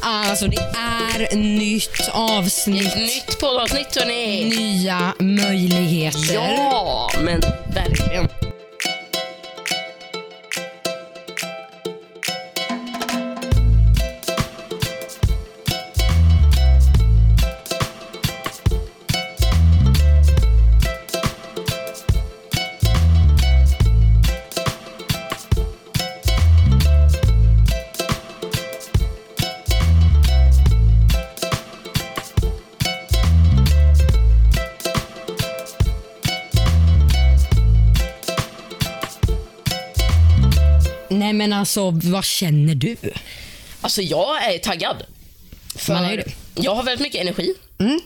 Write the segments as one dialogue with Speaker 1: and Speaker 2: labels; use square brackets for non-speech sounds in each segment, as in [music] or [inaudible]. Speaker 1: Alltså det är nytt avsnitt.
Speaker 2: Nytt poddavsnitt hörni!
Speaker 1: Nya möjligheter.
Speaker 2: Ja, men verkligen.
Speaker 1: Nej men alltså vad känner du?
Speaker 2: Alltså jag är taggad. För
Speaker 1: Man är ju det. Mm.
Speaker 2: Jag har väldigt mycket energi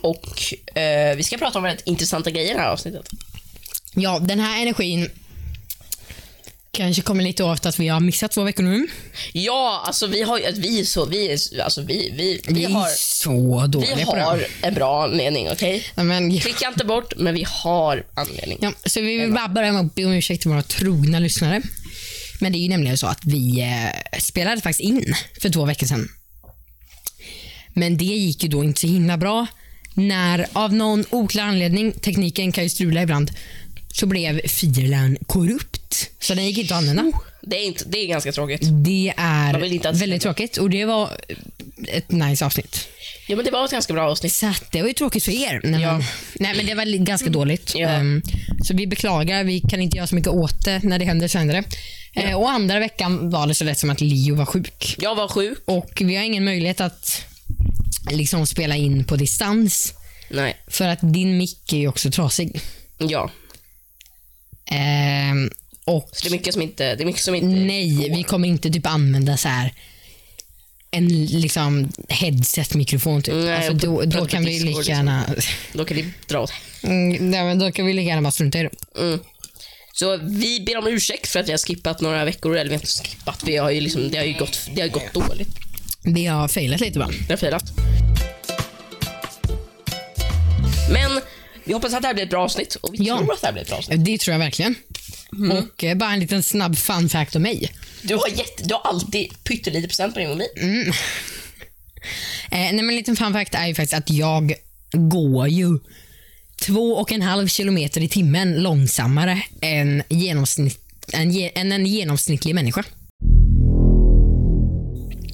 Speaker 2: och eh, vi ska prata om väldigt intressanta grejer i det här avsnittet.
Speaker 1: Ja, den här energin kanske kommer lite av att vi har missat två veckor nu.
Speaker 2: Ja, alltså vi har ju- att vi är så, vi är, alltså vi, vi, vi,
Speaker 1: Vi
Speaker 2: har,
Speaker 1: är så dåliga
Speaker 2: vi
Speaker 1: på det här.
Speaker 2: har en bra anledning, okej?
Speaker 1: Nej, men,
Speaker 2: Klicka inte bort, men vi har anledning.
Speaker 1: ja, så vi vill bara börja med att be om ursäkt till våra trogna lyssnare. Men det är ju nämligen så att vi eh, spelade faktiskt in för två veckor sedan. Men det gick ju då inte så himla bra. När av någon oklar anledning, tekniken kan ju strula ibland, så blev filen korrupt. Så den gick inte att använda.
Speaker 2: Det är, inte, det är ganska tråkigt.
Speaker 1: Det är
Speaker 2: Oh. Man vill inte att-
Speaker 1: väldigt tråkigt och det var ett nice avsnitt.
Speaker 2: Ja, men det var ett ganska bra avsnitt.
Speaker 1: Så att det var ju tråkigt för er. Nej,
Speaker 2: Ja. Mm.
Speaker 1: men, nej, men det var li- ganska dåligt.
Speaker 2: Ja.
Speaker 1: Ehm, så vi beklagar, vi kan inte göra så mycket åt det. När det händer så händer det. Eh, och andra veckan var det så lätt som att Leo var sjuk.
Speaker 2: Jag var sjuk.
Speaker 1: Och vi har ingen möjlighet att liksom spela in på distans.
Speaker 2: Nej.
Speaker 1: För att din mick är ju också trasig.
Speaker 2: Ja.
Speaker 1: Ehm, och
Speaker 2: Så det är mycket som inte, det är mycket som inte
Speaker 1: Nej, vi kommer inte typ använda så här en liksom headset-mikrofon typ.
Speaker 2: Nej,
Speaker 1: alltså,
Speaker 2: och
Speaker 1: då,
Speaker 2: pr-
Speaker 1: då
Speaker 2: prata
Speaker 1: kan vi
Speaker 2: Discord,
Speaker 1: lika
Speaker 2: liksom.
Speaker 1: gärna... [laughs]
Speaker 2: Då kan vi dra åt
Speaker 1: Mm, nej, men då kan vi lika gärna bara strunta i det.
Speaker 2: Mm. Så vi ber om ursäkt för att vi har skippat några veckor, eller vi har inte skippat, vi har ju liksom, det har ju gått, det har gått dåligt.
Speaker 1: Vi har failat lite va?
Speaker 2: Det har filat. Men vi hoppas att det här blir ett bra avsnitt och vi
Speaker 1: Ja.
Speaker 2: tror att det här blir ett bra avsnitt.
Speaker 1: Det tror jag verkligen.
Speaker 2: Mm.
Speaker 1: Och eh, bara en liten snabb fun fact om mig.
Speaker 2: Du har, gett, du har alltid pyttelite procent på din mobil.
Speaker 1: Eh, nej, men en liten fun fact är ju faktiskt att jag går ju två och en halv kilometer i timmen långsammare än, genomsnitt, än, ge, än en genomsnittlig människa.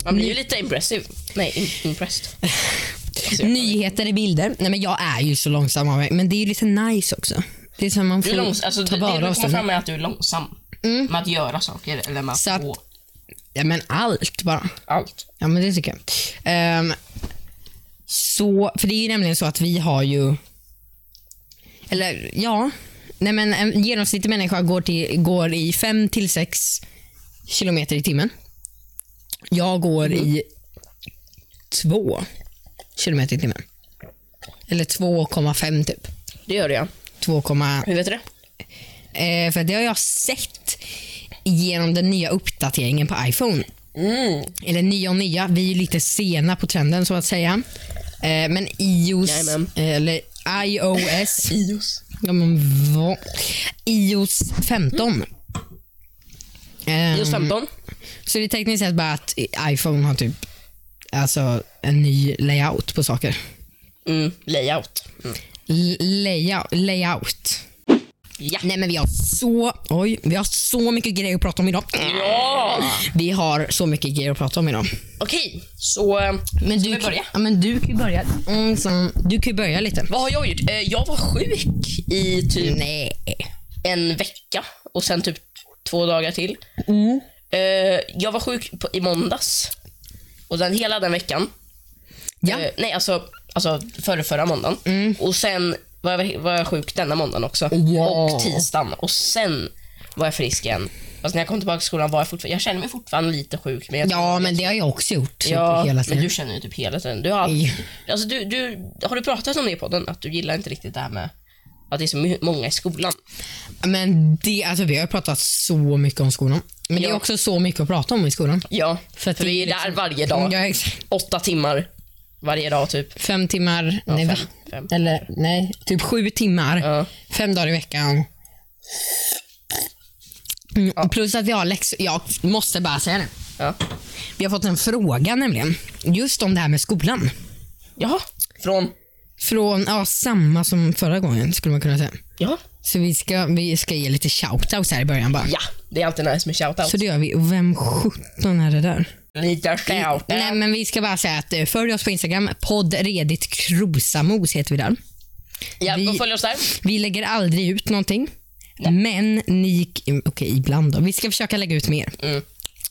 Speaker 2: Man blir ju lite impressive. Nej, in, impressed. Alltså, jag-
Speaker 1: Nyheter i bilder. Nej, men jag är ju så långsam av mig, men det är ju lite nice också. Det är så här man
Speaker 2: Du
Speaker 1: får
Speaker 2: är långs- alltså, det,
Speaker 1: ta
Speaker 2: det du
Speaker 1: vara av
Speaker 2: kommer fram
Speaker 1: stunden.
Speaker 2: med är att du är långsam. Med att göra saker eller med Mm. att
Speaker 1: Så att-
Speaker 2: få
Speaker 1: Ja, men allt bara.
Speaker 2: allt.
Speaker 1: Ja, men det tycker jag. Ehm, så, för det är ju nämligen så att vi har ju... Eller ja. Nej, men en genomsnittlig människa går, till, går i 5 till 6 kilometer i timmen. Jag går i 2 kilometer i timmen. Eller 2,5 typ.
Speaker 2: Det gör jag.
Speaker 1: 2,
Speaker 2: Hur vet du det?
Speaker 1: Eh, för det har jag sett genom den nya uppdateringen på iPhone. Eller nya och nya, vi är ju lite sena på trenden så att säga. Eh, men iOS,
Speaker 2: Jajamän.
Speaker 1: eh, eller
Speaker 2: [laughs]
Speaker 1: iOS,
Speaker 2: Ios.
Speaker 1: ja, men vad? iOS 15. Eh,
Speaker 2: Ios 15.
Speaker 1: så det är tekniskt sett bara att iPhone har typ alltså, en ny layout på saker.
Speaker 2: Mm, layout. Mm.
Speaker 1: L- layout, layout.
Speaker 2: Ja.
Speaker 1: Nej men vi har så, oj, vi har så mycket grejer att prata om idag.
Speaker 2: Ja!
Speaker 1: Vi har så mycket grejer att prata om idag.
Speaker 2: Okej, så eh,
Speaker 1: Men
Speaker 2: ska
Speaker 1: du,
Speaker 2: vi börja?
Speaker 1: Ja, men du kan ju börja. Mm, så, du kan ju börja lite.
Speaker 2: Vad har jag gjort? Eh, Jag var sjuk i typ
Speaker 1: Nej.
Speaker 2: en vecka och sen typ två dagar till.
Speaker 1: Mm.
Speaker 2: Eh, Jag var sjuk på, i måndags. Och den hela den veckan.
Speaker 1: Ja. Mm.
Speaker 2: Eh, Nej, alltså, alltså förra, förra måndagen. Och sen var jag, var jag sjuk denna måndagen också.
Speaker 1: Ja.
Speaker 2: Och tisdagen. Och sen var jag frisk igen. Fast när jag kom tillbaka till skolan var jag fortfarande, jag känner mig fortfarande lite sjuk. Men jag
Speaker 1: ja, men det har jag också gjort. typ,
Speaker 2: Ja,
Speaker 1: hela
Speaker 2: men
Speaker 1: tiden.
Speaker 2: du känner ju typ hela tiden. Du har,
Speaker 1: Ja.
Speaker 2: alltså du, du, har du pratat om det i podden? Att du gillar inte riktigt det här med att det är så my- många i skolan.
Speaker 1: Men det, alltså, vi har ju pratat så mycket om skolan. Men det är
Speaker 2: Ja.
Speaker 1: också så mycket att prata om i skolan.
Speaker 2: Ja,
Speaker 1: För
Speaker 2: för,
Speaker 1: att det
Speaker 2: vi
Speaker 1: är
Speaker 2: är
Speaker 1: liksom-
Speaker 2: där varje dag.
Speaker 1: Ja, exakt.
Speaker 2: Åtta timmar varje dag typ.
Speaker 1: Fem timmar, nej,
Speaker 2: fem,
Speaker 1: va?
Speaker 2: fem.
Speaker 1: Eller, nej, typ sju timmar.
Speaker 2: Ja.
Speaker 1: Fem dagar i veckan. Mm, och Plus att vi har läxor. Jag måste bara säga det.
Speaker 2: Ja.
Speaker 1: Vi har fått en fråga nämligen, just om det här med skolan.
Speaker 2: Jaha. Från?
Speaker 1: Från ja, samma som förra gången skulle man kunna säga.
Speaker 2: Ja.
Speaker 1: Så vi ska, vi ska ge lite shoutouts här i början bara.
Speaker 2: Ja, det är alltid nice med shoutout.
Speaker 1: Så det gör vi. Och vem sjutton är det där?
Speaker 2: Lite shoutout.
Speaker 1: Nej, men vi ska bara säga att eh, följ oss på Instagram. Podd Redigt Krosamos heter vi där.
Speaker 2: ja,
Speaker 1: vi-
Speaker 2: vi... följ oss där.
Speaker 1: Vi lägger aldrig ut någonting. Men ni... mm, Okej, ibland då. Vi ska försöka lägga ut mer.
Speaker 2: Mm.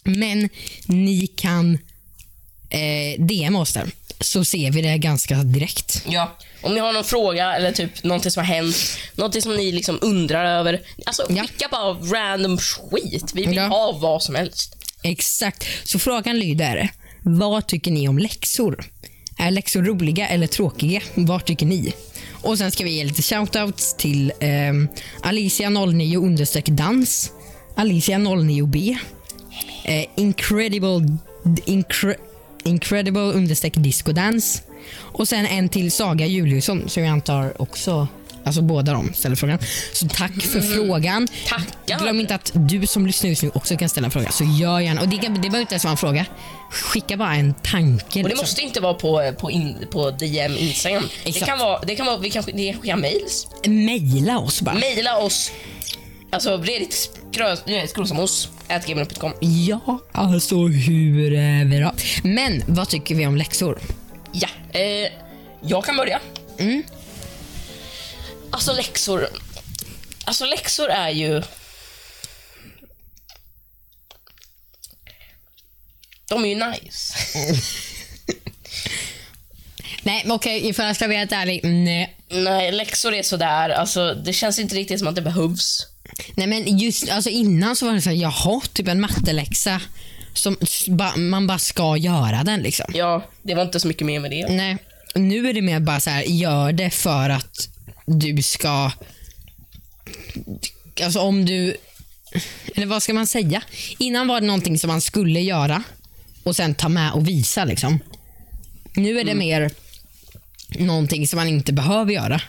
Speaker 1: Men ni kan eh, DM oss där. Så ser vi det ganska direkt.
Speaker 2: Ja. Om ni har någon fråga eller typ någonting som har hänt, någonting som ni liksom undrar över. Alltså
Speaker 1: Ja.
Speaker 2: skicka bara random skit. Vi vill
Speaker 1: Ja.
Speaker 2: ha vad som helst.
Speaker 1: Exakt. Så frågan lyder. Vad tycker ni om läxor? Är läxor roliga eller tråkiga? Vad tycker ni? Och sen ska vi ge lite shoutouts till ehm, Alicia09 dans, Alicia09b, eh, Incredible incre, Incredible understreck disco dance och sen en till Saga Juliusson som jag antar också Alltså båda de ställer frågan. Så tack för frågan.
Speaker 2: Tackar.
Speaker 1: Glöm inte att du som lyssnar just nu också kan ställa en fråga. Så gör gärna. Och det, kan, det behöver inte ens vara en fråga. Skicka bara en tanke.
Speaker 2: Och det
Speaker 1: liksom.
Speaker 2: måste inte vara på, eh, på, in, på DM Instagram. Det
Speaker 1: Exakt.
Speaker 2: kan vara, det kan vara, vi kan, sk- ni kan skicka mails.
Speaker 1: Maila oss bara.
Speaker 2: Mejla oss. Alltså redigt skrosamos. Ätgmail.com.
Speaker 1: ja, alltså hur är vi då? Men vad tycker vi om läxor?
Speaker 2: Ja, eh, jag kan börja.
Speaker 1: Mm.
Speaker 2: Alltså läxor. Alltså läxor är ju... De är ju nice.
Speaker 1: Nej, men okej, ifall jag ska vara helt ärlig. Nej.
Speaker 2: Nej, läxor är sådär. Alltså, det känns inte riktigt som att det behövs.
Speaker 1: Nej men just alltså innan så var det så här, jaha, typ en matteläxa. Som s- ba, man bara ska göra den liksom.
Speaker 2: Ja, det var inte så mycket mer med det.
Speaker 1: Nej, nu är det mer bara så här, gör det för att du ska... Alltså om du... Eller vad ska man säga? Innan var det någonting som man skulle göra och sen ta med och visa. liksom. Nu är det mer någonting som man inte behöver göra,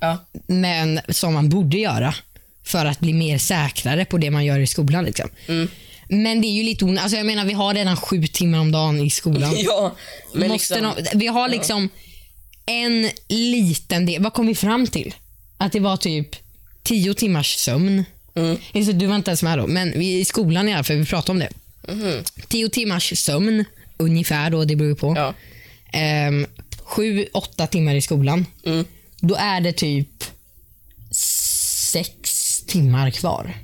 Speaker 2: Ja.
Speaker 1: men som man borde göra för att bli mer säkrare på det man gör i skolan. Liksom. Men det är ju lite onödigt. Alltså jag menar, vi har redan sju timmar om dagen i skolan.
Speaker 2: [laughs] ja men
Speaker 1: Måste
Speaker 2: liksom,
Speaker 1: nå- vi har liksom en liten del. Vad kom vi fram till? Att det var typ tio timmars sömn.
Speaker 2: Mm.
Speaker 1: Just det, du var inte ens med då, men vi, i skolan i alla fall, vi pratade om det. Tio timmars sömn, ungefär då, det beror ju på.
Speaker 2: Mm-hmm. Ja.
Speaker 1: Ehm, sju, åtta timmar i skolan.
Speaker 2: Mm.
Speaker 1: Då är det typ sex timmar kvar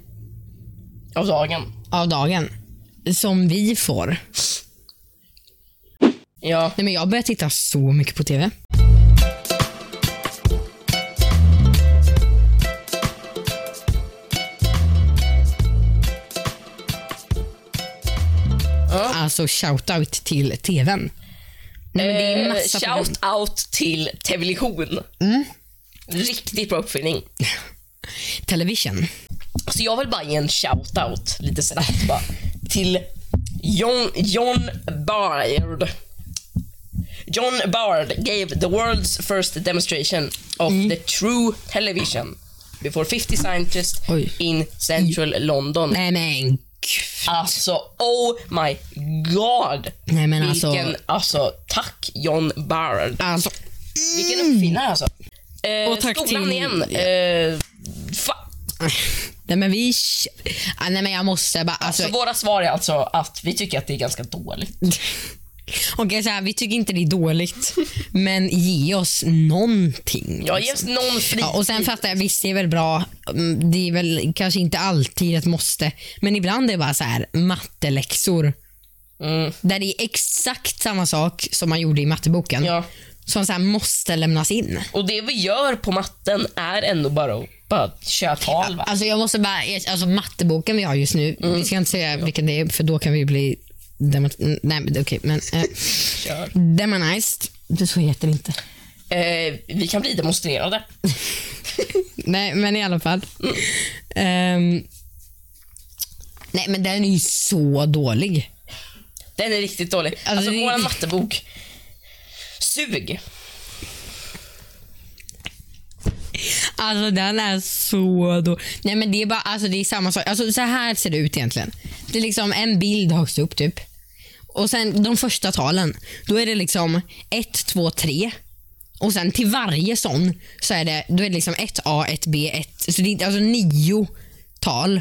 Speaker 2: Av dagen.
Speaker 1: av dagen som vi får.
Speaker 2: Ja.
Speaker 1: Nej, men jag börjar titta så mycket på TV.
Speaker 2: Ja.
Speaker 1: Alltså shoutout till TVn. Nej, men det är
Speaker 2: Eh,
Speaker 1: massa Mm. program.
Speaker 2: shout out till Television. Riktigt bra uppfinning.
Speaker 1: Television.
Speaker 2: Så jag vill bara ge en shout out lite snabbt bara, till John, John Bard. John Bard gave the world's first demonstration of
Speaker 1: Mm.
Speaker 2: the true television before 50 scientists
Speaker 1: Oj. Mm.
Speaker 2: in central London.
Speaker 1: Nej men gud.
Speaker 2: Alltså, oh my god!
Speaker 1: Nej, men alltså-
Speaker 2: Vilken, alltså... tack John Bard.
Speaker 1: Alltså,
Speaker 2: Vilken uppfinnare alltså. Eh,
Speaker 1: Och tack
Speaker 2: skolan
Speaker 1: till-
Speaker 2: igen. Eh, fa-
Speaker 1: nej men vi... Ah, nej men jag måste bara... Alltså,
Speaker 2: så våra svar är alltså att vi tycker att det är ganska dåligt.
Speaker 1: Okej, så här, vi tycker inte det är dåligt, men ge oss någonting.
Speaker 2: Ja, ge oss någon fri...
Speaker 1: Ja, och sen fattar jag, visst det är väl bra. Mm, Det är väl kanske inte alltid ett måste. Men ibland är det bara så här matteläxor.
Speaker 2: Mm.
Speaker 1: Där det är exakt samma sak som man gjorde i matteboken.
Speaker 2: Ja.
Speaker 1: Som så här måste lämnas in.
Speaker 2: Och det vi gör på matten är ändå bara att bara köra tal. Va?
Speaker 1: Alltså jag måste bara, er- alltså matteboken vi har just nu. Vi ska inte säga vilken det är för då kan vi bli demot- mm, Nej men det är okej. Men, [laughs] eh,
Speaker 2: Kör.
Speaker 1: demonized. Det så heter det inte.
Speaker 2: Eh, vi kan bli demonstrerade.
Speaker 1: Nej, men i alla fall. Ehm, nej, men den är ju så dålig.
Speaker 2: Den är riktigt dålig. Alltså,
Speaker 1: det-
Speaker 2: vår mattebok. Sug.
Speaker 1: Alltså den är så då. Nej men det är bara, alltså det är samma sak. Alltså så här ser det ut egentligen. Det är liksom en bild högst upp typ. Och sen de första talen, då är det liksom 1, 2, 3. Och sen till varje sån så är det, då är det liksom 1A, 1B, 1. Så det är alltså nio tal.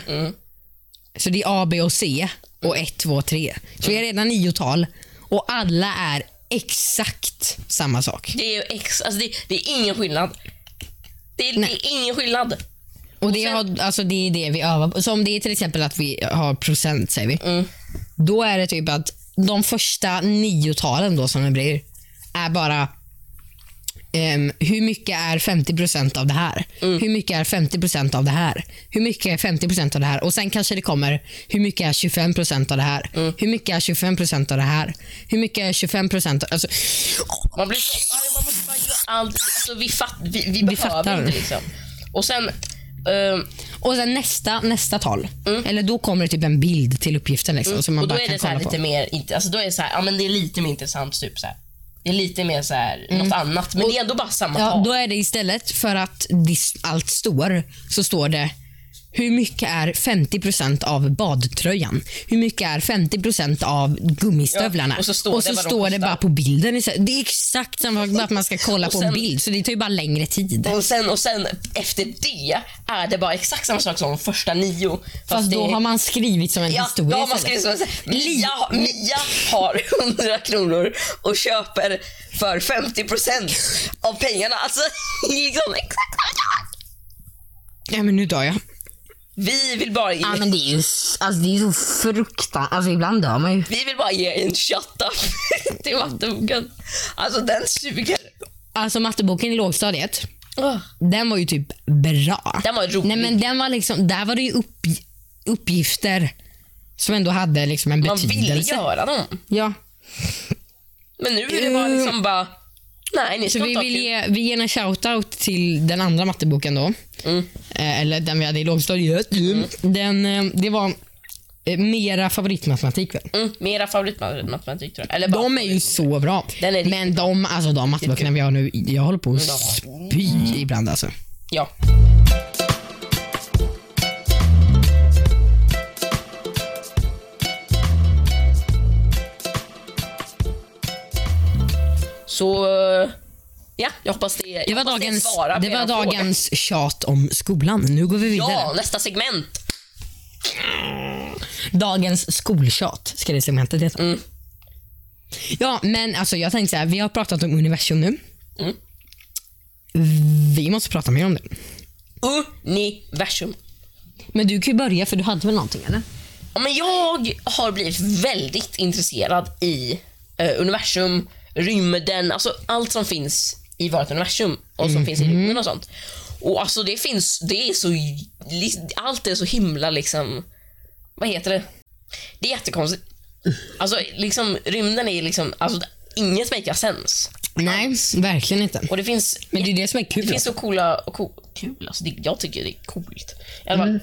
Speaker 1: Så det är A, B och C och 1, 2, 3. Så vi har redan nio tal och alla är exakt samma sak.
Speaker 2: Det är ju ex, alltså det, det är ingen skillnad. Det är, det
Speaker 1: Nej.
Speaker 2: är ingen skillnad.
Speaker 1: Och det,
Speaker 2: sen-
Speaker 1: har, alltså det är det vi övar på. Så om det är till exempel att vi har procent, säger vi.
Speaker 2: Mm.
Speaker 1: Då är det typ att de första nio talen då som det blir är bara ehm, hur mycket är 50% av det här?
Speaker 2: Mm.
Speaker 1: Hur mycket är 50% av det här? Hur mycket är 50% av det här? Och sen kanske det kommer, hur mycket är 25% av det här?
Speaker 2: Mm.
Speaker 1: Hur mycket är 25% av det här? Hur mycket är 25% av... Alltså,
Speaker 2: Man blir så arg, man måste bara göra allt. Alltså vi, fatt, vi, vi, behöver
Speaker 1: fattar.
Speaker 2: inte liksom. Och sen, ehm,
Speaker 1: Och sen nästa, nästa tal. Eller då kommer det typ en bild till uppgiften. Liksom, som man
Speaker 2: Mm. och
Speaker 1: bara
Speaker 2: då är
Speaker 1: kan
Speaker 2: det så här
Speaker 1: kolla på.
Speaker 2: lite mer, inte, alltså då är det så här, ja men det är lite mer intressant typ så här. Det är lite mer så här, något annat, men det är ändå bara samma
Speaker 1: Mm. Ja,
Speaker 2: tal.
Speaker 1: då är det istället för att dis- allt står, så står det hur mycket är 50% av badtröjan? Hur mycket är 50% av gummistövlarna?
Speaker 2: Ja, och så står det vad de
Speaker 1: står det
Speaker 2: kostar.
Speaker 1: bara på bilden. istället. Det är exakt samma sak, bara att man ska kolla
Speaker 2: Och
Speaker 1: på en
Speaker 2: sen-
Speaker 1: bild. Så det tar ju bara längre tid.
Speaker 2: Och sen, och sen efter det är det bara exakt samma sak som de första nio. Fast,
Speaker 1: Fast
Speaker 2: det,
Speaker 1: då har man skrivit som en
Speaker 2: ja,
Speaker 1: historia
Speaker 2: då har man
Speaker 1: istället.
Speaker 2: skrivit så här, Mia, Mia har [laughs] 100 kronor och köper för 50% av pengarna. Alltså [laughs] liksom exakt samma sak.
Speaker 1: Ja, men nu dör jag.
Speaker 2: Vi vill bara ge,
Speaker 1: Ja, men det är ju alltså, det är så fruktansvärt. Alltså, ibland dör man ju.
Speaker 2: vi vill bara ge en shut up [laughs] till vattenboken. Alltså den suger.
Speaker 1: Alltså matteboken i lågstadiet,
Speaker 2: Åh.
Speaker 1: den var ju typ bra.
Speaker 2: Den var rolig.
Speaker 1: Nej, men den var liksom, där var det ju upp, uppgifter som ändå hade liksom en
Speaker 2: Man
Speaker 1: betydelse.
Speaker 2: ville göra dem.
Speaker 1: Ja.
Speaker 2: Men nu är det bara liksom bara, nej ni ska
Speaker 1: Uh. Så vi
Speaker 2: inte ha
Speaker 1: vill
Speaker 2: kul.
Speaker 1: ge, vi ger en shoutout till den andra matteboken då.
Speaker 2: Mm.
Speaker 1: Eh, eller den vi hade i lågstadiet. Den, eh, det var eh, mera favoritmatematik väl?
Speaker 2: Mm, mera favoritmatematik tror jag. Eller bara,
Speaker 1: De är ju så bra.
Speaker 2: Den är riktigt-
Speaker 1: Men de, alltså de matteböckerna vi har nu, jag håller på att
Speaker 2: Mm.
Speaker 1: spy ibland alltså.
Speaker 2: Ja. Så, eh, ja, jag hoppas det
Speaker 1: Det
Speaker 2: jag
Speaker 1: var
Speaker 2: hoppas det
Speaker 1: dagens,
Speaker 2: svarar på
Speaker 1: det var
Speaker 2: era frågor.
Speaker 1: dagens tjat om skolan. Nu går vi vidare.
Speaker 2: Ja, nästa segment.
Speaker 1: Dagens skoltjat ska det segmentet heta. Ja, men alltså jag tänkte så här, vi har pratat om universum nu. Mm. Vi måste prata mer om det.
Speaker 2: Universum.
Speaker 1: Men du kan ju börja för du hade väl någonting eller?
Speaker 2: Ja, men jag har blivit väldigt intresserad i eh, universum, rymden, alltså allt som finns i vårt universum och som finns i rymden och sånt. Och alltså det finns, det är så, li- allt är så himla liksom, vad heter det? Det är jättekonstigt. Alltså liksom rymden är liksom, alltså inget make sense.
Speaker 1: Nej, verkligen inte.
Speaker 2: Och det finns
Speaker 1: Men det är det som är kul.
Speaker 2: det finns så coola... och Co kul, alltså det, jag tycker det är coolt. I alla fall,
Speaker 1: Mm.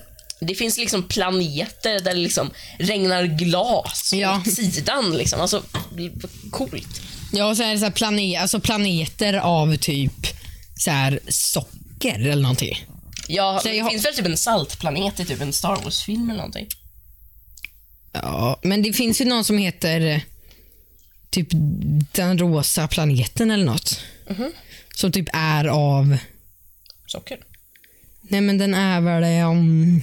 Speaker 2: Det finns liksom planeter där det liksom regnar glas
Speaker 1: Ja.
Speaker 2: åt sidan. Liksom. Alltså, det är coolt.
Speaker 1: Ja, och så är det så här plane- alltså planeter av typ så här socker eller någonting.
Speaker 2: Ja,
Speaker 1: Så
Speaker 2: det
Speaker 1: jag har-
Speaker 2: finns väl typ en saltplanet i typ en Star Wars-film eller någonting?
Speaker 1: Ja, men det finns ju någon som heter eh, typ den rosa planeten eller något. Som typ är av
Speaker 2: Socker.
Speaker 1: Nej men den är väl det om...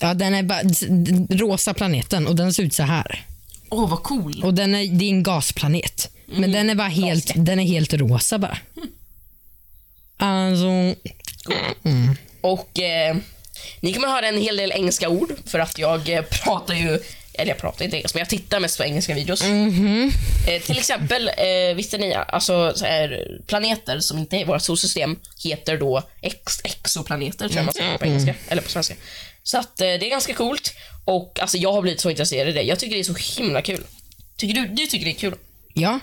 Speaker 1: Ja den är bara s- d- rosa planeten och den ser ut så här.
Speaker 2: Åh, vad cool.
Speaker 1: Och den är, det är en gasplanet. Men den är bara helt, den är helt rosa bara. Alltså,
Speaker 2: Och eh, ni kommer höra en hel del engelska ord för att jag eh, pratar ju, eller jag pratar inte engelska men jag tittar mest på engelska videos. Eh, till exempel, eh, visste ni alltså så här, planeter som inte är i vårt solsystem heter då ex- exoplaneter tror jag man säger på engelska, eller på svenska. Så att eh, det är ganska coolt och alltså jag har blivit så intresserad i det. Jag tycker det är så himla kul. Tycker du, du tycker det är kul?
Speaker 1: ja.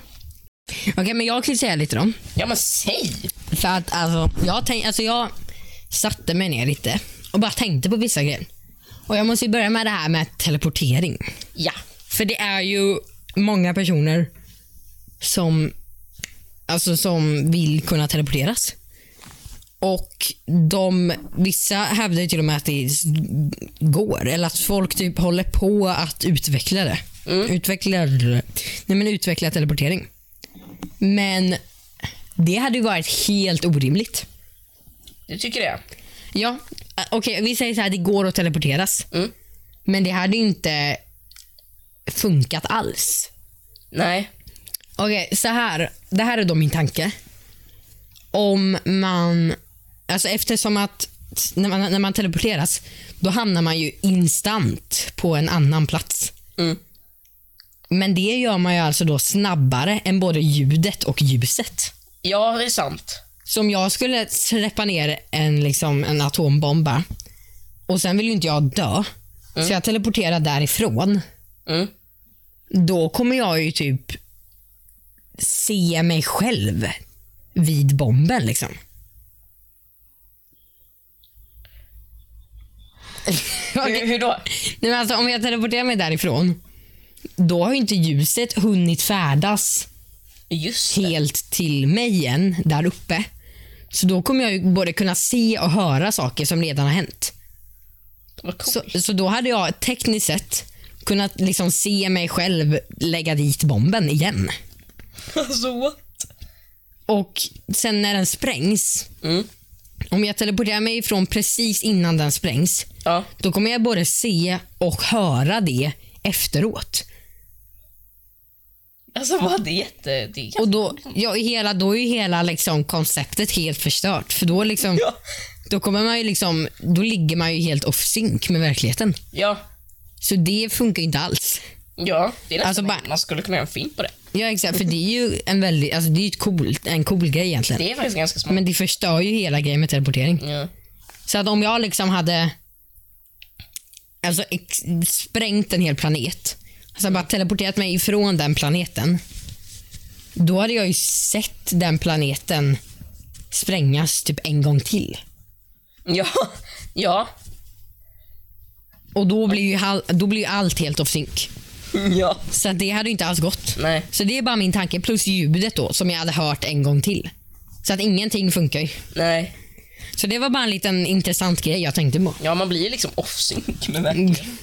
Speaker 1: Okej men jag kan ju säga lite då.
Speaker 2: Ja men säg!
Speaker 1: För att alltså jag, tänk, alltså, jag satte mig ner lite och bara tänkte på vissa grejer. Och jag måste ju börja med det här med teleportering.
Speaker 2: Ja.
Speaker 1: För det är ju många personer som alltså som vill kunna teleporteras. Och de, vissa hävdar ju till och med att det s- går, eller att folk typ håller på att utveckla det. Utveckla, nej men utveckla teleportering. Men det hade ju varit helt orimligt.
Speaker 2: Du tycker det?
Speaker 1: Ja, eh, okej vi säger så här, det går att teleporteras.
Speaker 2: Mm.
Speaker 1: Men det hade ju inte funkat alls.
Speaker 2: Nej.
Speaker 1: Okej, så här. Det här är då min tanke. Om man... Alltså eftersom att när man, när man teleporteras, då hamnar man ju instant på en annan plats.
Speaker 2: Mm.
Speaker 1: Men det gör man ju alltså då snabbare än både ljudet och ljuset.
Speaker 2: Ja, det är sant.
Speaker 1: Så om jag skulle släppa ner en, liksom, en atombomb bara, och sen vill ju inte jag dö, så jag teleporterar därifrån.
Speaker 2: Mm.
Speaker 1: Då kommer jag ju typ se mig själv vid bomben. liksom. Okej.
Speaker 2: Hur, hur då?
Speaker 1: Nej, men alltså, om jag teleporterar mig därifrån, då har ju inte ljuset hunnit färdas
Speaker 2: Just det.
Speaker 1: helt till mig än, där uppe. Så då kommer jag ju både kunna se och höra saker som redan har hänt.
Speaker 2: Vad coolt.
Speaker 1: Så, så då hade jag tekniskt sett kunnat liksom se mig själv lägga dit bomben igen.
Speaker 2: Alltså what?
Speaker 1: Och sen när den sprängs,
Speaker 2: Mm.
Speaker 1: om jag teleporterar mig ifrån precis innan den sprängs,
Speaker 2: Ja.
Speaker 1: då kommer jag både se och höra det efteråt.
Speaker 2: Alltså vad, det är jätte... Det är jätte...
Speaker 1: Och då, ja, hela, då är ju hela liksom konceptet helt förstört. För då, liksom,
Speaker 2: Ja.
Speaker 1: då, kommer man ju liksom, då ligger man ju helt off sync med verkligheten.
Speaker 2: Ja.
Speaker 1: Så det funkar ju inte alls.
Speaker 2: Ja, det är nästan
Speaker 1: Alltså, bara-
Speaker 2: man skulle kunna göra en film på det.
Speaker 1: Ja, exakt. För det är ju en väldigt, alltså det är ju ett coolt, en cool grej egentligen.
Speaker 2: Det är faktiskt ganska smart.
Speaker 1: Men det förstör ju hela grejen med teleportering.
Speaker 2: Ja.
Speaker 1: Så att om jag liksom hade alltså, ex- sprängt en hel planet, alltså bara teleporterat mig ifrån den planeten, då hade jag ju sett den planeten sprängas typ en gång till.
Speaker 2: Ja. Ja.
Speaker 1: Och då blir ju, hal- då blir ju allt helt off sync.
Speaker 2: Ja.
Speaker 1: Så att det hade ju inte alls gått.
Speaker 2: Nej.
Speaker 1: Så det är bara min tanke, plus ljudet då som jag hade hört en gång till. Så att ingenting funkar ju.
Speaker 2: Nej.
Speaker 1: Så det var bara en liten intressant grej jag tänkte på.
Speaker 2: Ja, man blir ju liksom off-sync med verkligheten.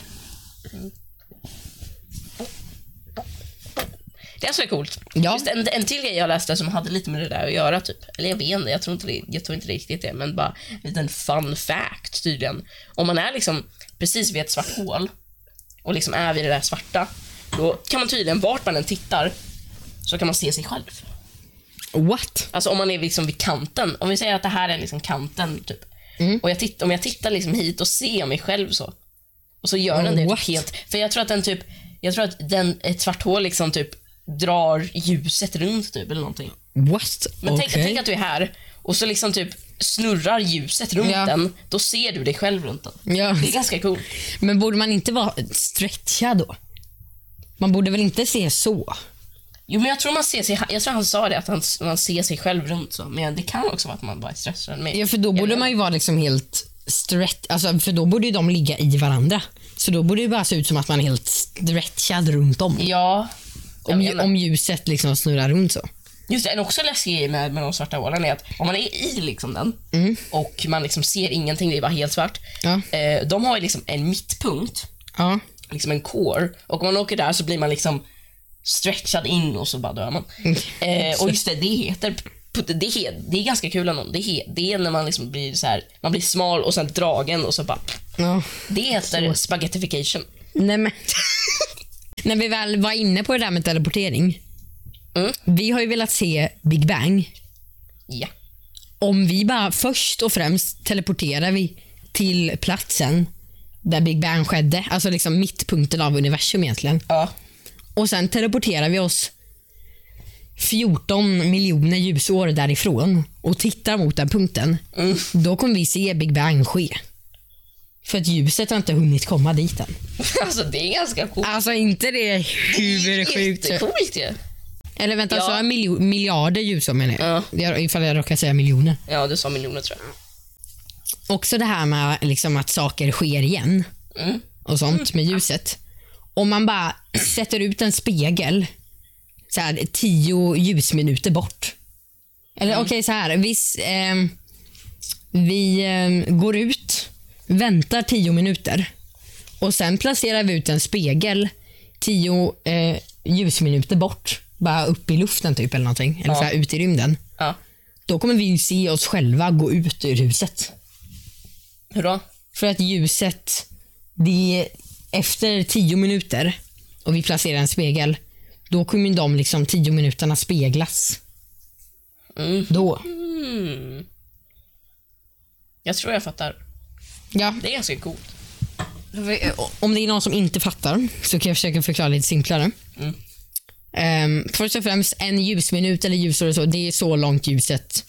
Speaker 2: Det är så coolt.
Speaker 1: Ja.
Speaker 2: Just en, en till grej jag läste som hade lite med det där att göra. Typ. Eller jag vet inte, jag tror inte, det, jag tror inte riktigt det. Men bara en liten fun fact tydligen. Om man är liksom precis vid ett svart hål och liksom är vid det där svarta. Då kan man tydligen, vart man än tittar, så kan man se sig själv.
Speaker 1: What?
Speaker 2: Alltså om man är liksom vid kanten. Om vi säger att det här är liksom kanten. Typ.
Speaker 1: Mm.
Speaker 2: Och jag titt, om jag tittar liksom hit och ser mig själv så. Och så gör den det
Speaker 1: What?
Speaker 2: typ helt. För jag tror att den typ, jag tror att den, ett svart hål liksom typ drar ljuset runt typ eller någonting.
Speaker 1: What?
Speaker 2: Men tänk,
Speaker 1: Okej.
Speaker 2: tänk att du är här och så liksom typ snurrar ljuset runt
Speaker 1: Ja.
Speaker 2: den. Då ser du dig själv runt den.
Speaker 1: Ja.
Speaker 2: Det är ganska coolt.
Speaker 1: Men borde man inte vara stretchad då? Man borde väl inte se så?
Speaker 2: Jo men jag tror man ser sig, jag tror han sa det att han, man ser sig själv runt så. Men det kan också vara att man bara är stressad. Men
Speaker 1: Ja, för då borde man ju vara liksom helt stretch, alltså, för då borde ju de ligga i varandra. Så då borde det bara se ut som att man är helt stretchad runt om.
Speaker 2: Ja. jag
Speaker 1: Om,
Speaker 2: vet
Speaker 1: ju-
Speaker 2: inte.
Speaker 1: om ljuset liksom snurrar runt så.
Speaker 2: Just det, en också läskig grej med, med de svarta hålen är att om man är i liksom den och man liksom ser ingenting, det är bara helt svart.
Speaker 1: Mm. Ja.
Speaker 2: Eh, de har ju liksom en mittpunkt,
Speaker 1: Ja.
Speaker 2: liksom en core och om man åker där så blir man liksom stretchad in och så bara dör man.
Speaker 1: Mm.
Speaker 2: Eh, och just det, det heter put- det, he- det är ganska kul ändå. Det, he- det är när man liksom blir så här, man blir smal och sen dragen och så bara...
Speaker 1: ja.
Speaker 2: Det heter spaghettification.
Speaker 1: Nej men. [laughs] När vi väl var inne på det där med teleportering.
Speaker 2: Mm.
Speaker 1: Vi har ju velat se Big Bang.
Speaker 2: Ja.
Speaker 1: om vi bara först och främst teleporterar vi till platsen där Big Bang skedde, alltså liksom mittpunkten av universum egentligen.
Speaker 2: Ja. [laughs]
Speaker 1: Och sen teleporterar vi oss 14 miljoner ljusår därifrån och tittar mot den punkten.
Speaker 2: Mm.
Speaker 1: Då kommer vi se Big Bang ske. För att ljuset har inte hunnit komma dit än.
Speaker 2: alltså det är ganska coolt.
Speaker 1: Alltså inte det hur sjukt.
Speaker 2: Jättecoolt ju.
Speaker 1: Eller vänta,
Speaker 2: Ja.
Speaker 1: sa jag miljo- miljarder ljusår menar jag? jag? Ifall jag råkar säga miljoner.
Speaker 2: Ja, du sa miljoner tror jag.
Speaker 1: också det här med liksom att saker sker igen
Speaker 2: Mm.
Speaker 1: och sånt med ljuset. Om man bara sätter ut en spegel så här, tio ljusminuter bort Eller okej, så här. Viss, ehm, vi ehm, går ut, väntar tio minuter och sen placerar vi ut en spegel tio eh, ljusminuter bort. Bara upp i luften typ eller någonting. Eller
Speaker 2: Ja.
Speaker 1: så här, ut i rymden.
Speaker 2: Ja.
Speaker 1: Då kommer vi ju se oss själva gå ut ur huset.
Speaker 2: Hur då?
Speaker 1: För att ljuset, det är efter tio minuter och vi placerar en spegel, då kommer ju de liksom tio minuterna speglas. Då.
Speaker 2: Jag tror jag fattar.
Speaker 1: Ja.
Speaker 2: Det är ganska coolt.
Speaker 1: Om det är någon som inte fattar så kan jag försöka förklara lite simplare. Ehm, först och främst, en ljusminut eller ljusår och så, det är så långt ljuset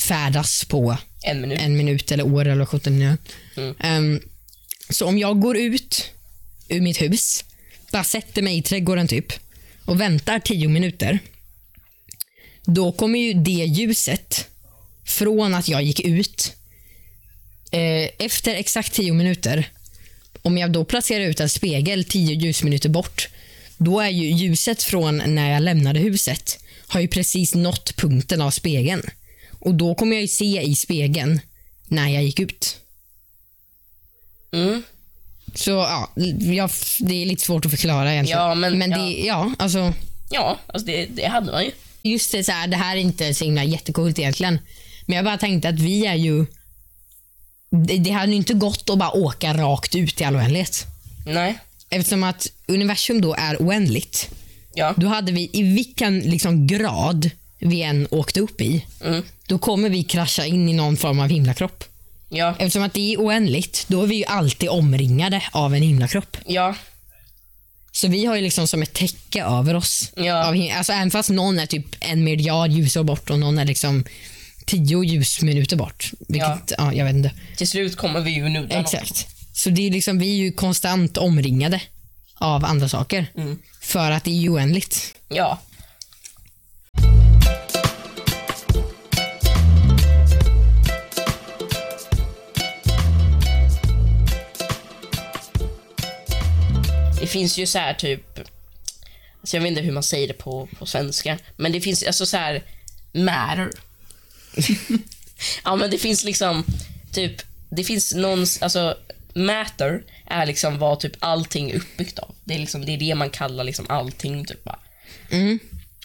Speaker 1: färdas på
Speaker 2: En minut.
Speaker 1: en minut eller år eller 17 nu. Ehm, så om jag går ut ur mitt hus, bara sätter mig i trädgården typ och väntar 10 minuter. Då kommer ju det ljuset från att jag gick ut eh, efter exakt 10 minuter. Om jag då placerar ut en spegel 10 ljusminuter bort, då är ju ljuset från när jag lämnade huset har ju precis nått punkten av spegeln. Och då kommer jag ju se i spegeln när jag gick ut.
Speaker 2: Mm.
Speaker 1: Så ja, jag, det är lite svårt att förklara egentligen.
Speaker 2: Ja, men-
Speaker 1: men det, ja, alltså.
Speaker 2: Ja, alltså det, det hade man ju.
Speaker 1: Just det, så här, det här är inte så himla jättecoolt egentligen. Men jag bara tänkte att vi är ju... Det, det hade ju inte gått att bara åka rakt ut i all oändlighet.
Speaker 2: Nej.
Speaker 1: Eftersom att universum då är oändligt.
Speaker 2: Ja.
Speaker 1: Då hade vi i vilken liksom, grad vi än åkte upp i,
Speaker 2: Mm.
Speaker 1: då kommer vi krascha in i någon form av himlakropp.
Speaker 2: Ja.
Speaker 1: Eftersom att det är oändligt, då är vi ju alltid omringade av en himlakropp.
Speaker 2: Ja.
Speaker 1: Så vi har ju liksom som ett täcke över oss.
Speaker 2: Ja.
Speaker 1: Av him- alltså även fast någon är typ en miljard ljusår bort och någon är liksom tio ljusminuter bort. Vilket, ja. jag vet inte.
Speaker 2: Till slut kommer vi ju nudda något.
Speaker 1: Exakt. Så det är liksom, vi är ju konstant omringade av andra saker.
Speaker 2: Mm.
Speaker 1: För att det är ju oändligt.
Speaker 2: Ja. Det finns ju så här typ, alltså jag vet inte hur man säger det på, på svenska, men det finns alltså så här märer. ja men det finns liksom, typ, det finns någon, alltså matter är liksom vad typ allting är uppbyggt av. Det är liksom, det är det man kallar liksom allting typ bara.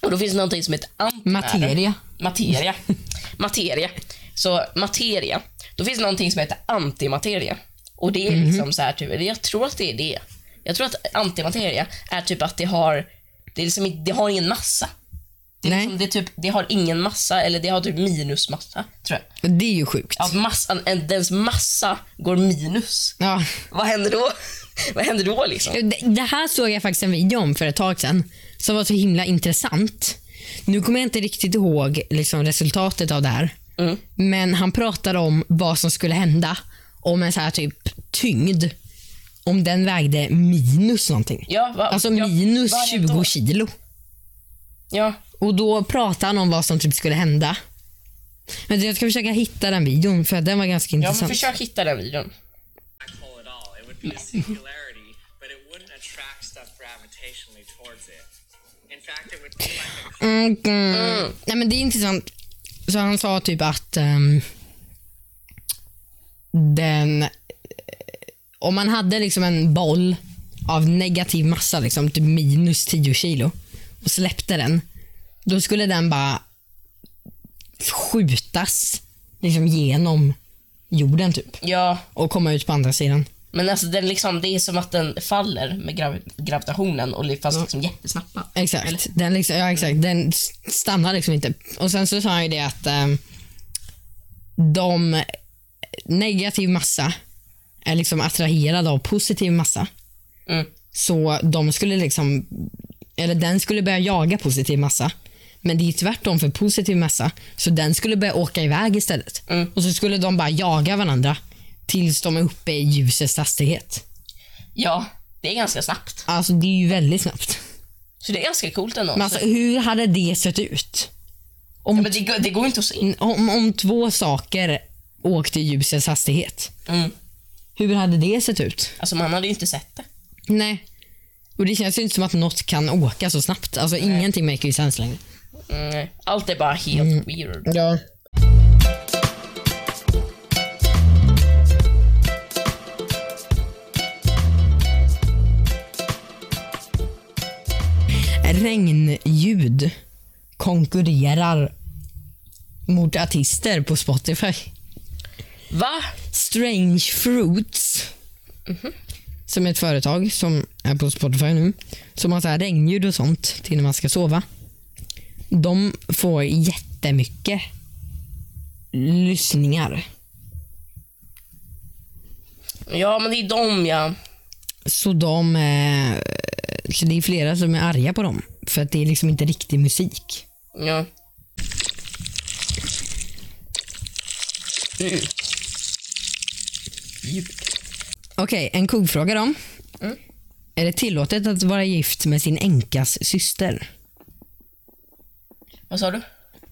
Speaker 2: Och då finns det någonting som heter antimatter.
Speaker 1: Materia.
Speaker 2: Materia. [laughs] Materia. Så materia. Då finns det någonting som heter antimateria. Och det är
Speaker 1: Mhm.
Speaker 2: liksom så här, typ, eller jag tror att det är det. Jag tror att antimateria är typ att det har, det, är liksom, inte- det har ingen massa. Det, är
Speaker 1: Nej.
Speaker 2: liksom, det, är typ, det har ingen massa, eller det har typ minusmassa, tror jag.
Speaker 1: Det är ju sjukt.
Speaker 2: Att massan, en- dens massa går minus.
Speaker 1: Ja.
Speaker 2: Vad händer då? [laughs] Vad händer då liksom?
Speaker 1: Det- Det här såg jag faktiskt en video om för ett tag sedan som var så himla intressant. Nu kommer jag inte riktigt ihåg liksom, resultatet av det här.
Speaker 2: Mm.
Speaker 1: Men han pratade om vad som skulle hända om en så här typ tyngd, om den vägde minus någonting.
Speaker 2: Ja, va,
Speaker 1: Alltså
Speaker 2: ja,
Speaker 1: minus
Speaker 2: vad händer
Speaker 1: 20
Speaker 2: då?
Speaker 1: kilo.
Speaker 2: Ja,
Speaker 1: Och då pratade han om vad som typ skulle hända. Men jag ska försöka hitta den videon för den var ganska
Speaker 2: ja men
Speaker 1: intressant.
Speaker 2: försök hitta den videon.
Speaker 3: pull at all. It would be a singularity, but it wouldn't attract stuff gravitationally towards it. In fact, it would be like a
Speaker 1: Mm, mm. Nej, men det är intressant. Så han sa typ att ehm, den... Om man hade liksom en boll av negativ massa, liksom, typ minus 10 kilo och släppte den, då skulle den bara skjutas liksom genom jorden typ
Speaker 2: Ja,
Speaker 1: och komma ut på andra sidan.
Speaker 2: Men alltså den liksom, det är som att den faller med gravi- gravitationen och li- fast liksom jättesnabbt. bara.
Speaker 1: Exakt. Den, liksom, ja, exakt. den s- stannar liksom inte. Och Sen så sa han ju det att ehm, de negativ massa är liksom attraherad av positiv massa.
Speaker 2: Mm.
Speaker 1: Så de skulle liksom, eller den skulle börja jaga positiv massa. Men det är tvärtom för positiv massa. Så den skulle börja åka iväg istället.
Speaker 2: Mm.
Speaker 1: Och så skulle de bara jaga varandra tills de är uppe i ljusets hastighet.
Speaker 2: Ja, det är ganska snabbt.
Speaker 1: Alltså det är ju väldigt snabbt.
Speaker 2: Så det är ganska coolt ändå.
Speaker 1: Men alltså, hur hade det sett ut? Om,
Speaker 2: ja, men det, går- det går inte att se.
Speaker 1: om, om två saker åkte i ljusets hastighet,
Speaker 2: Mm.
Speaker 1: hur hade det sett ut?
Speaker 2: Alltså man hade ju inte sett det.
Speaker 1: Nej. Och Det känns ju inte som att något kan åka så snabbt. Alltså Ingenting maker ju sens längre.
Speaker 2: Mm, allt är bara helt
Speaker 1: Mm.
Speaker 2: weird.
Speaker 1: Ja. Regnljud konkurrerar mot artister på Spotify.
Speaker 2: Va?
Speaker 1: Strange Fruits, som är ett företag som är på Spotify nu, som har så här regnljud och sånt till när man ska sova. De får jättemycket lyssningar.
Speaker 2: Ja, men det är dem ja.
Speaker 1: Så, de, eh, så det är flera som är arga på dem, för att det är liksom inte riktig musik.
Speaker 2: ja. Mm. Ljud.
Speaker 1: Okej, en kuggfråga då. Är det tillåtet att vara gift med sin änkas syster?
Speaker 2: Vad sa du?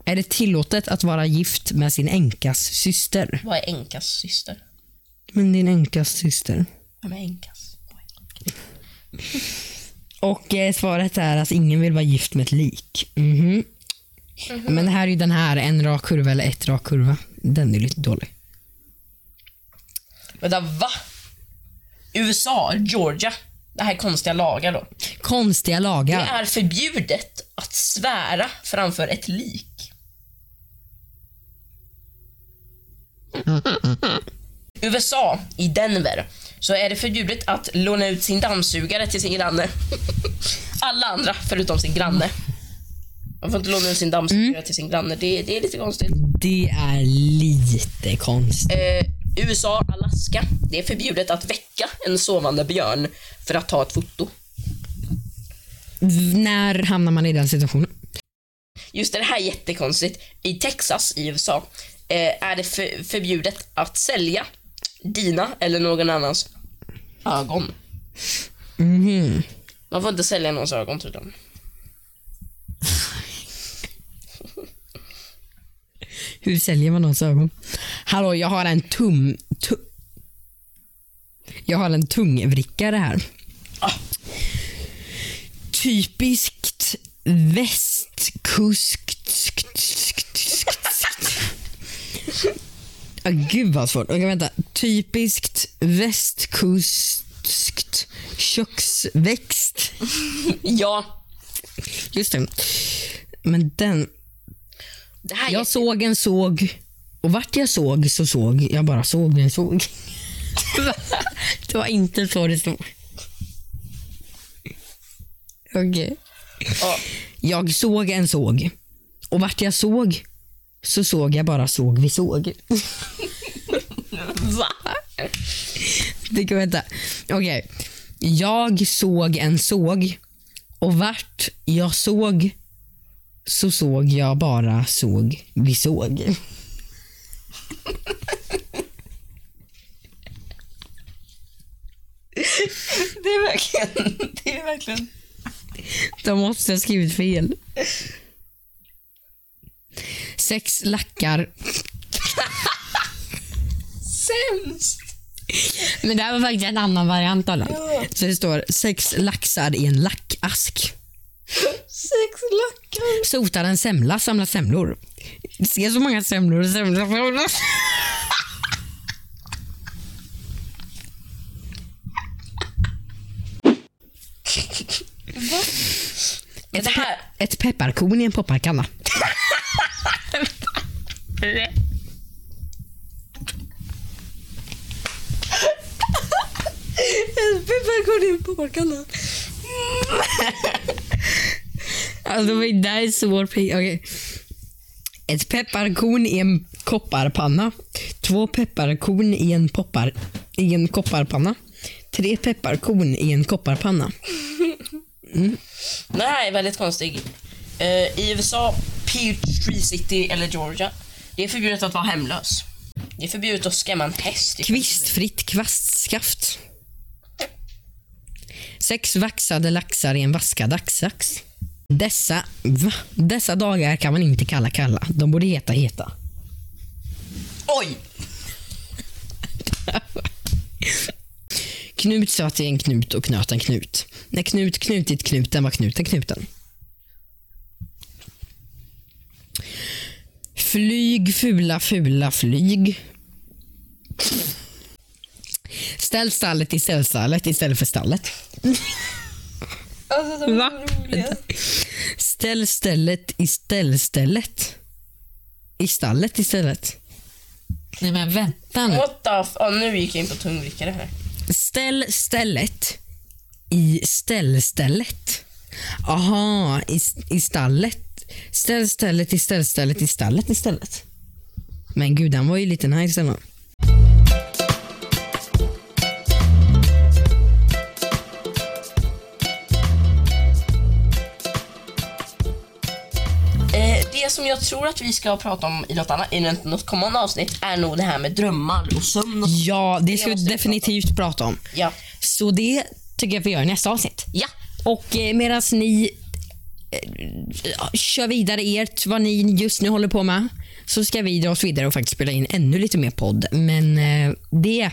Speaker 1: Är det tillåtet att vara gift med sin änkas syster?
Speaker 2: Vad är Enkas syster?
Speaker 1: Men din änkas syster.
Speaker 2: Vem är Enkas?
Speaker 1: Och eh, svaret är att ingen vill vara gift med ett lik. Mhm.
Speaker 2: Mhm.
Speaker 1: Men det här är ju den här, en rak kurva eller ett rak kurva. Den är lite dålig.
Speaker 2: Vänta, va? USA, Georgia. Det här är konstiga lagar då.
Speaker 1: Konstiga
Speaker 2: Det
Speaker 1: lagar.
Speaker 2: är förbjudet att svära framför ett lik. USA, i Denver, så är det förbjudet att låna ut sin dammsugare till sin granne. [laughs] Alla andra förutom sin granne. Man får inte låna ut sin dammsugare till sin granne. Det, det är lite konstigt.
Speaker 1: Det är lite konstigt.
Speaker 2: Eh, USA, Alaska. Det är förbjudet att väcka en sovande björn för att ta ett foto.
Speaker 1: V- När hamnar man i den situationen?
Speaker 2: Just det, det här är jättekonstigt. I Texas i USA eh, är det för, förbjudet att sälja dina eller någon annans ögon. Mm-hmm.
Speaker 1: Mhm.
Speaker 2: Man får inte sälja någons ögon tydligen.
Speaker 1: Hur säljer man någons ögon? Hallå, jag har en tum... Tu, jag har en tungvrickare här.
Speaker 2: Ah.
Speaker 1: Typiskt västkust... Ah, gud vad svårt. Okej, vänta. Typiskt västkust... Köksväxt.
Speaker 2: Ja,
Speaker 1: Just det. Men den...
Speaker 2: det här är...
Speaker 1: Jag såg en såg och vart jag såg så såg jag bara såg en såg. [laughs] det var inte så det stod. Okej.
Speaker 2: ja,
Speaker 1: Jag såg en såg och vart jag såg så såg jag bara såg vi [laughs] såg.
Speaker 2: va?
Speaker 1: Det kan vänta. Okej. Jag såg en såg och vart jag såg så såg jag bara såg vi såg.
Speaker 2: Det är verkligen... [laughs] Det är verkligen...
Speaker 1: De måste ha skrivit fel. Sex lackar.
Speaker 2: Sämst!
Speaker 1: Men det här var faktiskt en annan variant av den. Så det står sex laxar i en lackask.
Speaker 2: Sex lackar.
Speaker 1: Sotar en semla, samlar semlor. Ser så många semlor och semlar semlor.
Speaker 2: Det här...
Speaker 1: Ett pepparkorn i en popparkanna.
Speaker 2: Pepparkorn på bakarna.
Speaker 1: Alltså det där är svår pris. Okej. Ett pepparkorn i en kopparpanna. Två pepparkorn i en, poppar, i en kopparpanna. Tre pepparkorn i en kopparpanna.
Speaker 2: Den här är väldigt konstig. Eh, I USA, Peachtree City eller Georgia, det är förbjudet att vara hemlös. Det är förbjudet att skrämma en typ. häst.
Speaker 1: Kvistfritt kvastskaft. Sex vaxade laxar i en vaskad axax. Dessa, va? Dessa dagar kan man inte kalla kalla. De borde heta heta.
Speaker 2: Oj!
Speaker 1: [laughs] Knut satt i en knut och knöt en knut. När Knut knutit knuten var knuten knuten. Flyg fula fula flyg. Ställ stallet i ställstallet istället för stallet.
Speaker 4: Alltså de
Speaker 1: Va?
Speaker 4: är så roliga.
Speaker 1: Ställ stället i ställstället. I stallet istället. Nej men vänta nu.
Speaker 2: What the f- oh, Nu gick jag in på tungvrickare här.
Speaker 1: Ställ stället i ställstället. Aha, i, i stallet. Ställ stället i ställstället i stallet istället. Men gud, han var ju lite nice ändå.
Speaker 2: Eh, det som jag tror att vi ska prata om i något, annat, i något- något kommande avsnitt är nog det här med drömmar och sömn. Och...
Speaker 1: Ja, det ska vi
Speaker 2: måste vi
Speaker 1: definitivt prata om.
Speaker 2: Ja.
Speaker 1: Så det tycker jag vi gör i nästa avsnitt.
Speaker 2: Ja.
Speaker 1: Och eh, medan ni eh, ja, kör vidare ert, vad ni just nu håller på med, så ska vi dra oss vidare och faktiskt spela in ännu lite mer podd. Men eh, det,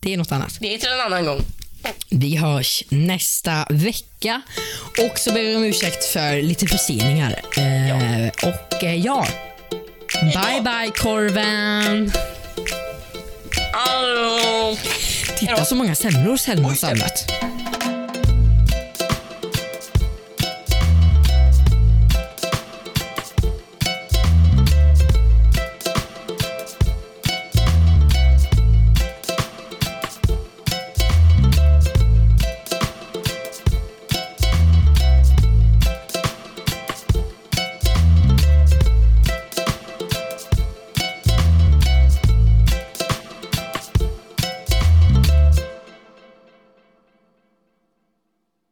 Speaker 1: det är något annat.
Speaker 2: Det är till en annan gång.
Speaker 1: Vi hörs nästa vecka. Och så ber vi om ursäkt för lite förseningar. Eh, Och eh, ja, bye bye korven.
Speaker 2: Hallå!
Speaker 1: Titta så många semlor Selma har samlat.